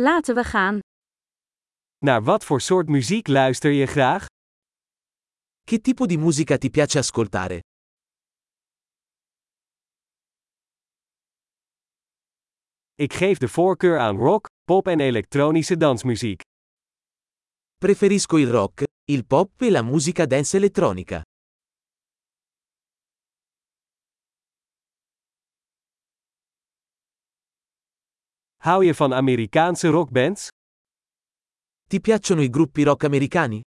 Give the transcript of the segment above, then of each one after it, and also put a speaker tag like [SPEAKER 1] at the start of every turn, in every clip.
[SPEAKER 1] Laten we gaan.
[SPEAKER 2] Naar wat voor soort muziek luister je graag?
[SPEAKER 3] Che tipo di musica ti piace ascoltare?
[SPEAKER 2] Ik geef de voorkeur aan rock, pop en elektronische dansmuziek.
[SPEAKER 3] Preferisco il rock, il pop e la musica dance elettronica.
[SPEAKER 2] Hou je van Amerikaanse rockbands?
[SPEAKER 3] Ti piacciono i gruppi rock americani?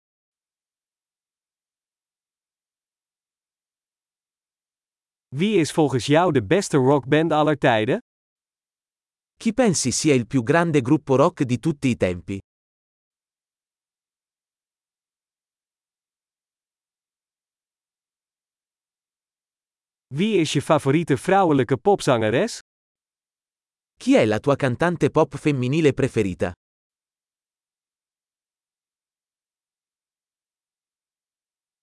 [SPEAKER 2] Wie is volgens jou de beste rockband aller tijden?
[SPEAKER 3] Chi pensi sia il più grande gruppo rock di tutti i tempi?
[SPEAKER 2] Wie is je favoriete vrouwelijke popzangeres?
[SPEAKER 3] Chi è la tua cantante pop femminile preferita?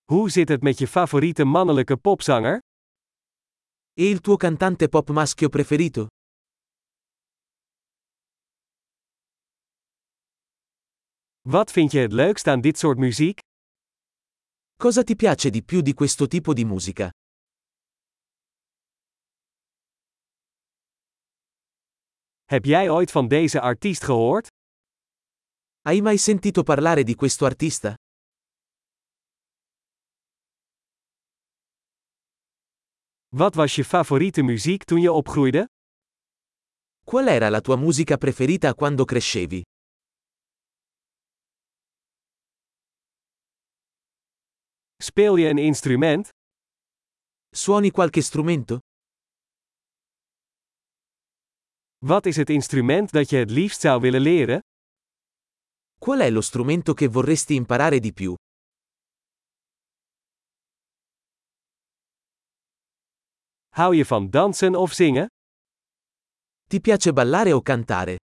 [SPEAKER 2] Hoe zit het met je favoriete mannelijke popzanger?
[SPEAKER 3] E il tuo cantante pop maschio preferito?
[SPEAKER 2] Wat vind je het leukst aan dit soort muziek?
[SPEAKER 3] Cosa ti piace di più di questo tipo di musica?
[SPEAKER 2] Heb jij ooit van deze artiest gehoord?
[SPEAKER 3] Hai mai sentito parlare di questo artista?
[SPEAKER 2] Wat was je favoriete muziek toen je opgroeide?
[SPEAKER 3] Qual era la tua musica preferita quando crescevi?
[SPEAKER 2] Speel je een instrument?
[SPEAKER 3] Suoni qualche strumento?
[SPEAKER 2] Wat is het instrument dat je het liefst zou willen leren?
[SPEAKER 3] Qual è lo strumento che vorresti imparare di più?
[SPEAKER 2] Hou je van dansen of zingen?
[SPEAKER 3] Ti piace ballare o cantare?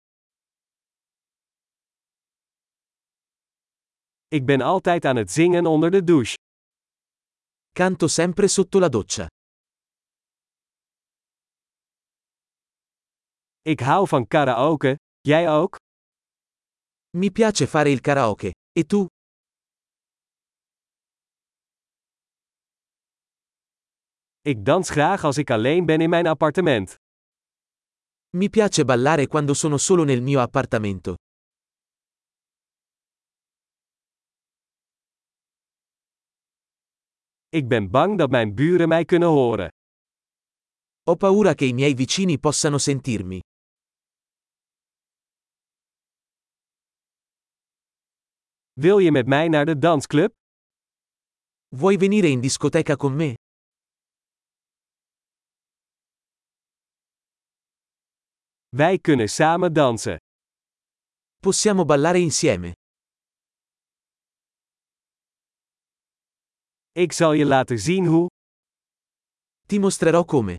[SPEAKER 2] Ik ben altijd aan het zingen onder de douche.
[SPEAKER 3] Canto sempre sotto la doccia.
[SPEAKER 2] Ik hou van karaoke, jij ook?
[SPEAKER 3] Mi piace fare il karaoke. E tu?
[SPEAKER 2] Ik dans graag als ik alleen ben in mijn appartement.
[SPEAKER 3] Mi piace ballare quando sono solo nel mio appartamento.
[SPEAKER 2] Ik ben bang dat mijn buren mij kunnen horen.
[SPEAKER 3] Ho paura che i miei vicini possano sentirmi.
[SPEAKER 2] Wil je met mij naar de dansclub?
[SPEAKER 3] Vuoi venire in discoteca con me?
[SPEAKER 2] Wij kunnen samen dansen.
[SPEAKER 3] Possiamo ballare insieme.
[SPEAKER 2] Ik zal je laten zien hoe.
[SPEAKER 3] Ti mostrerò come.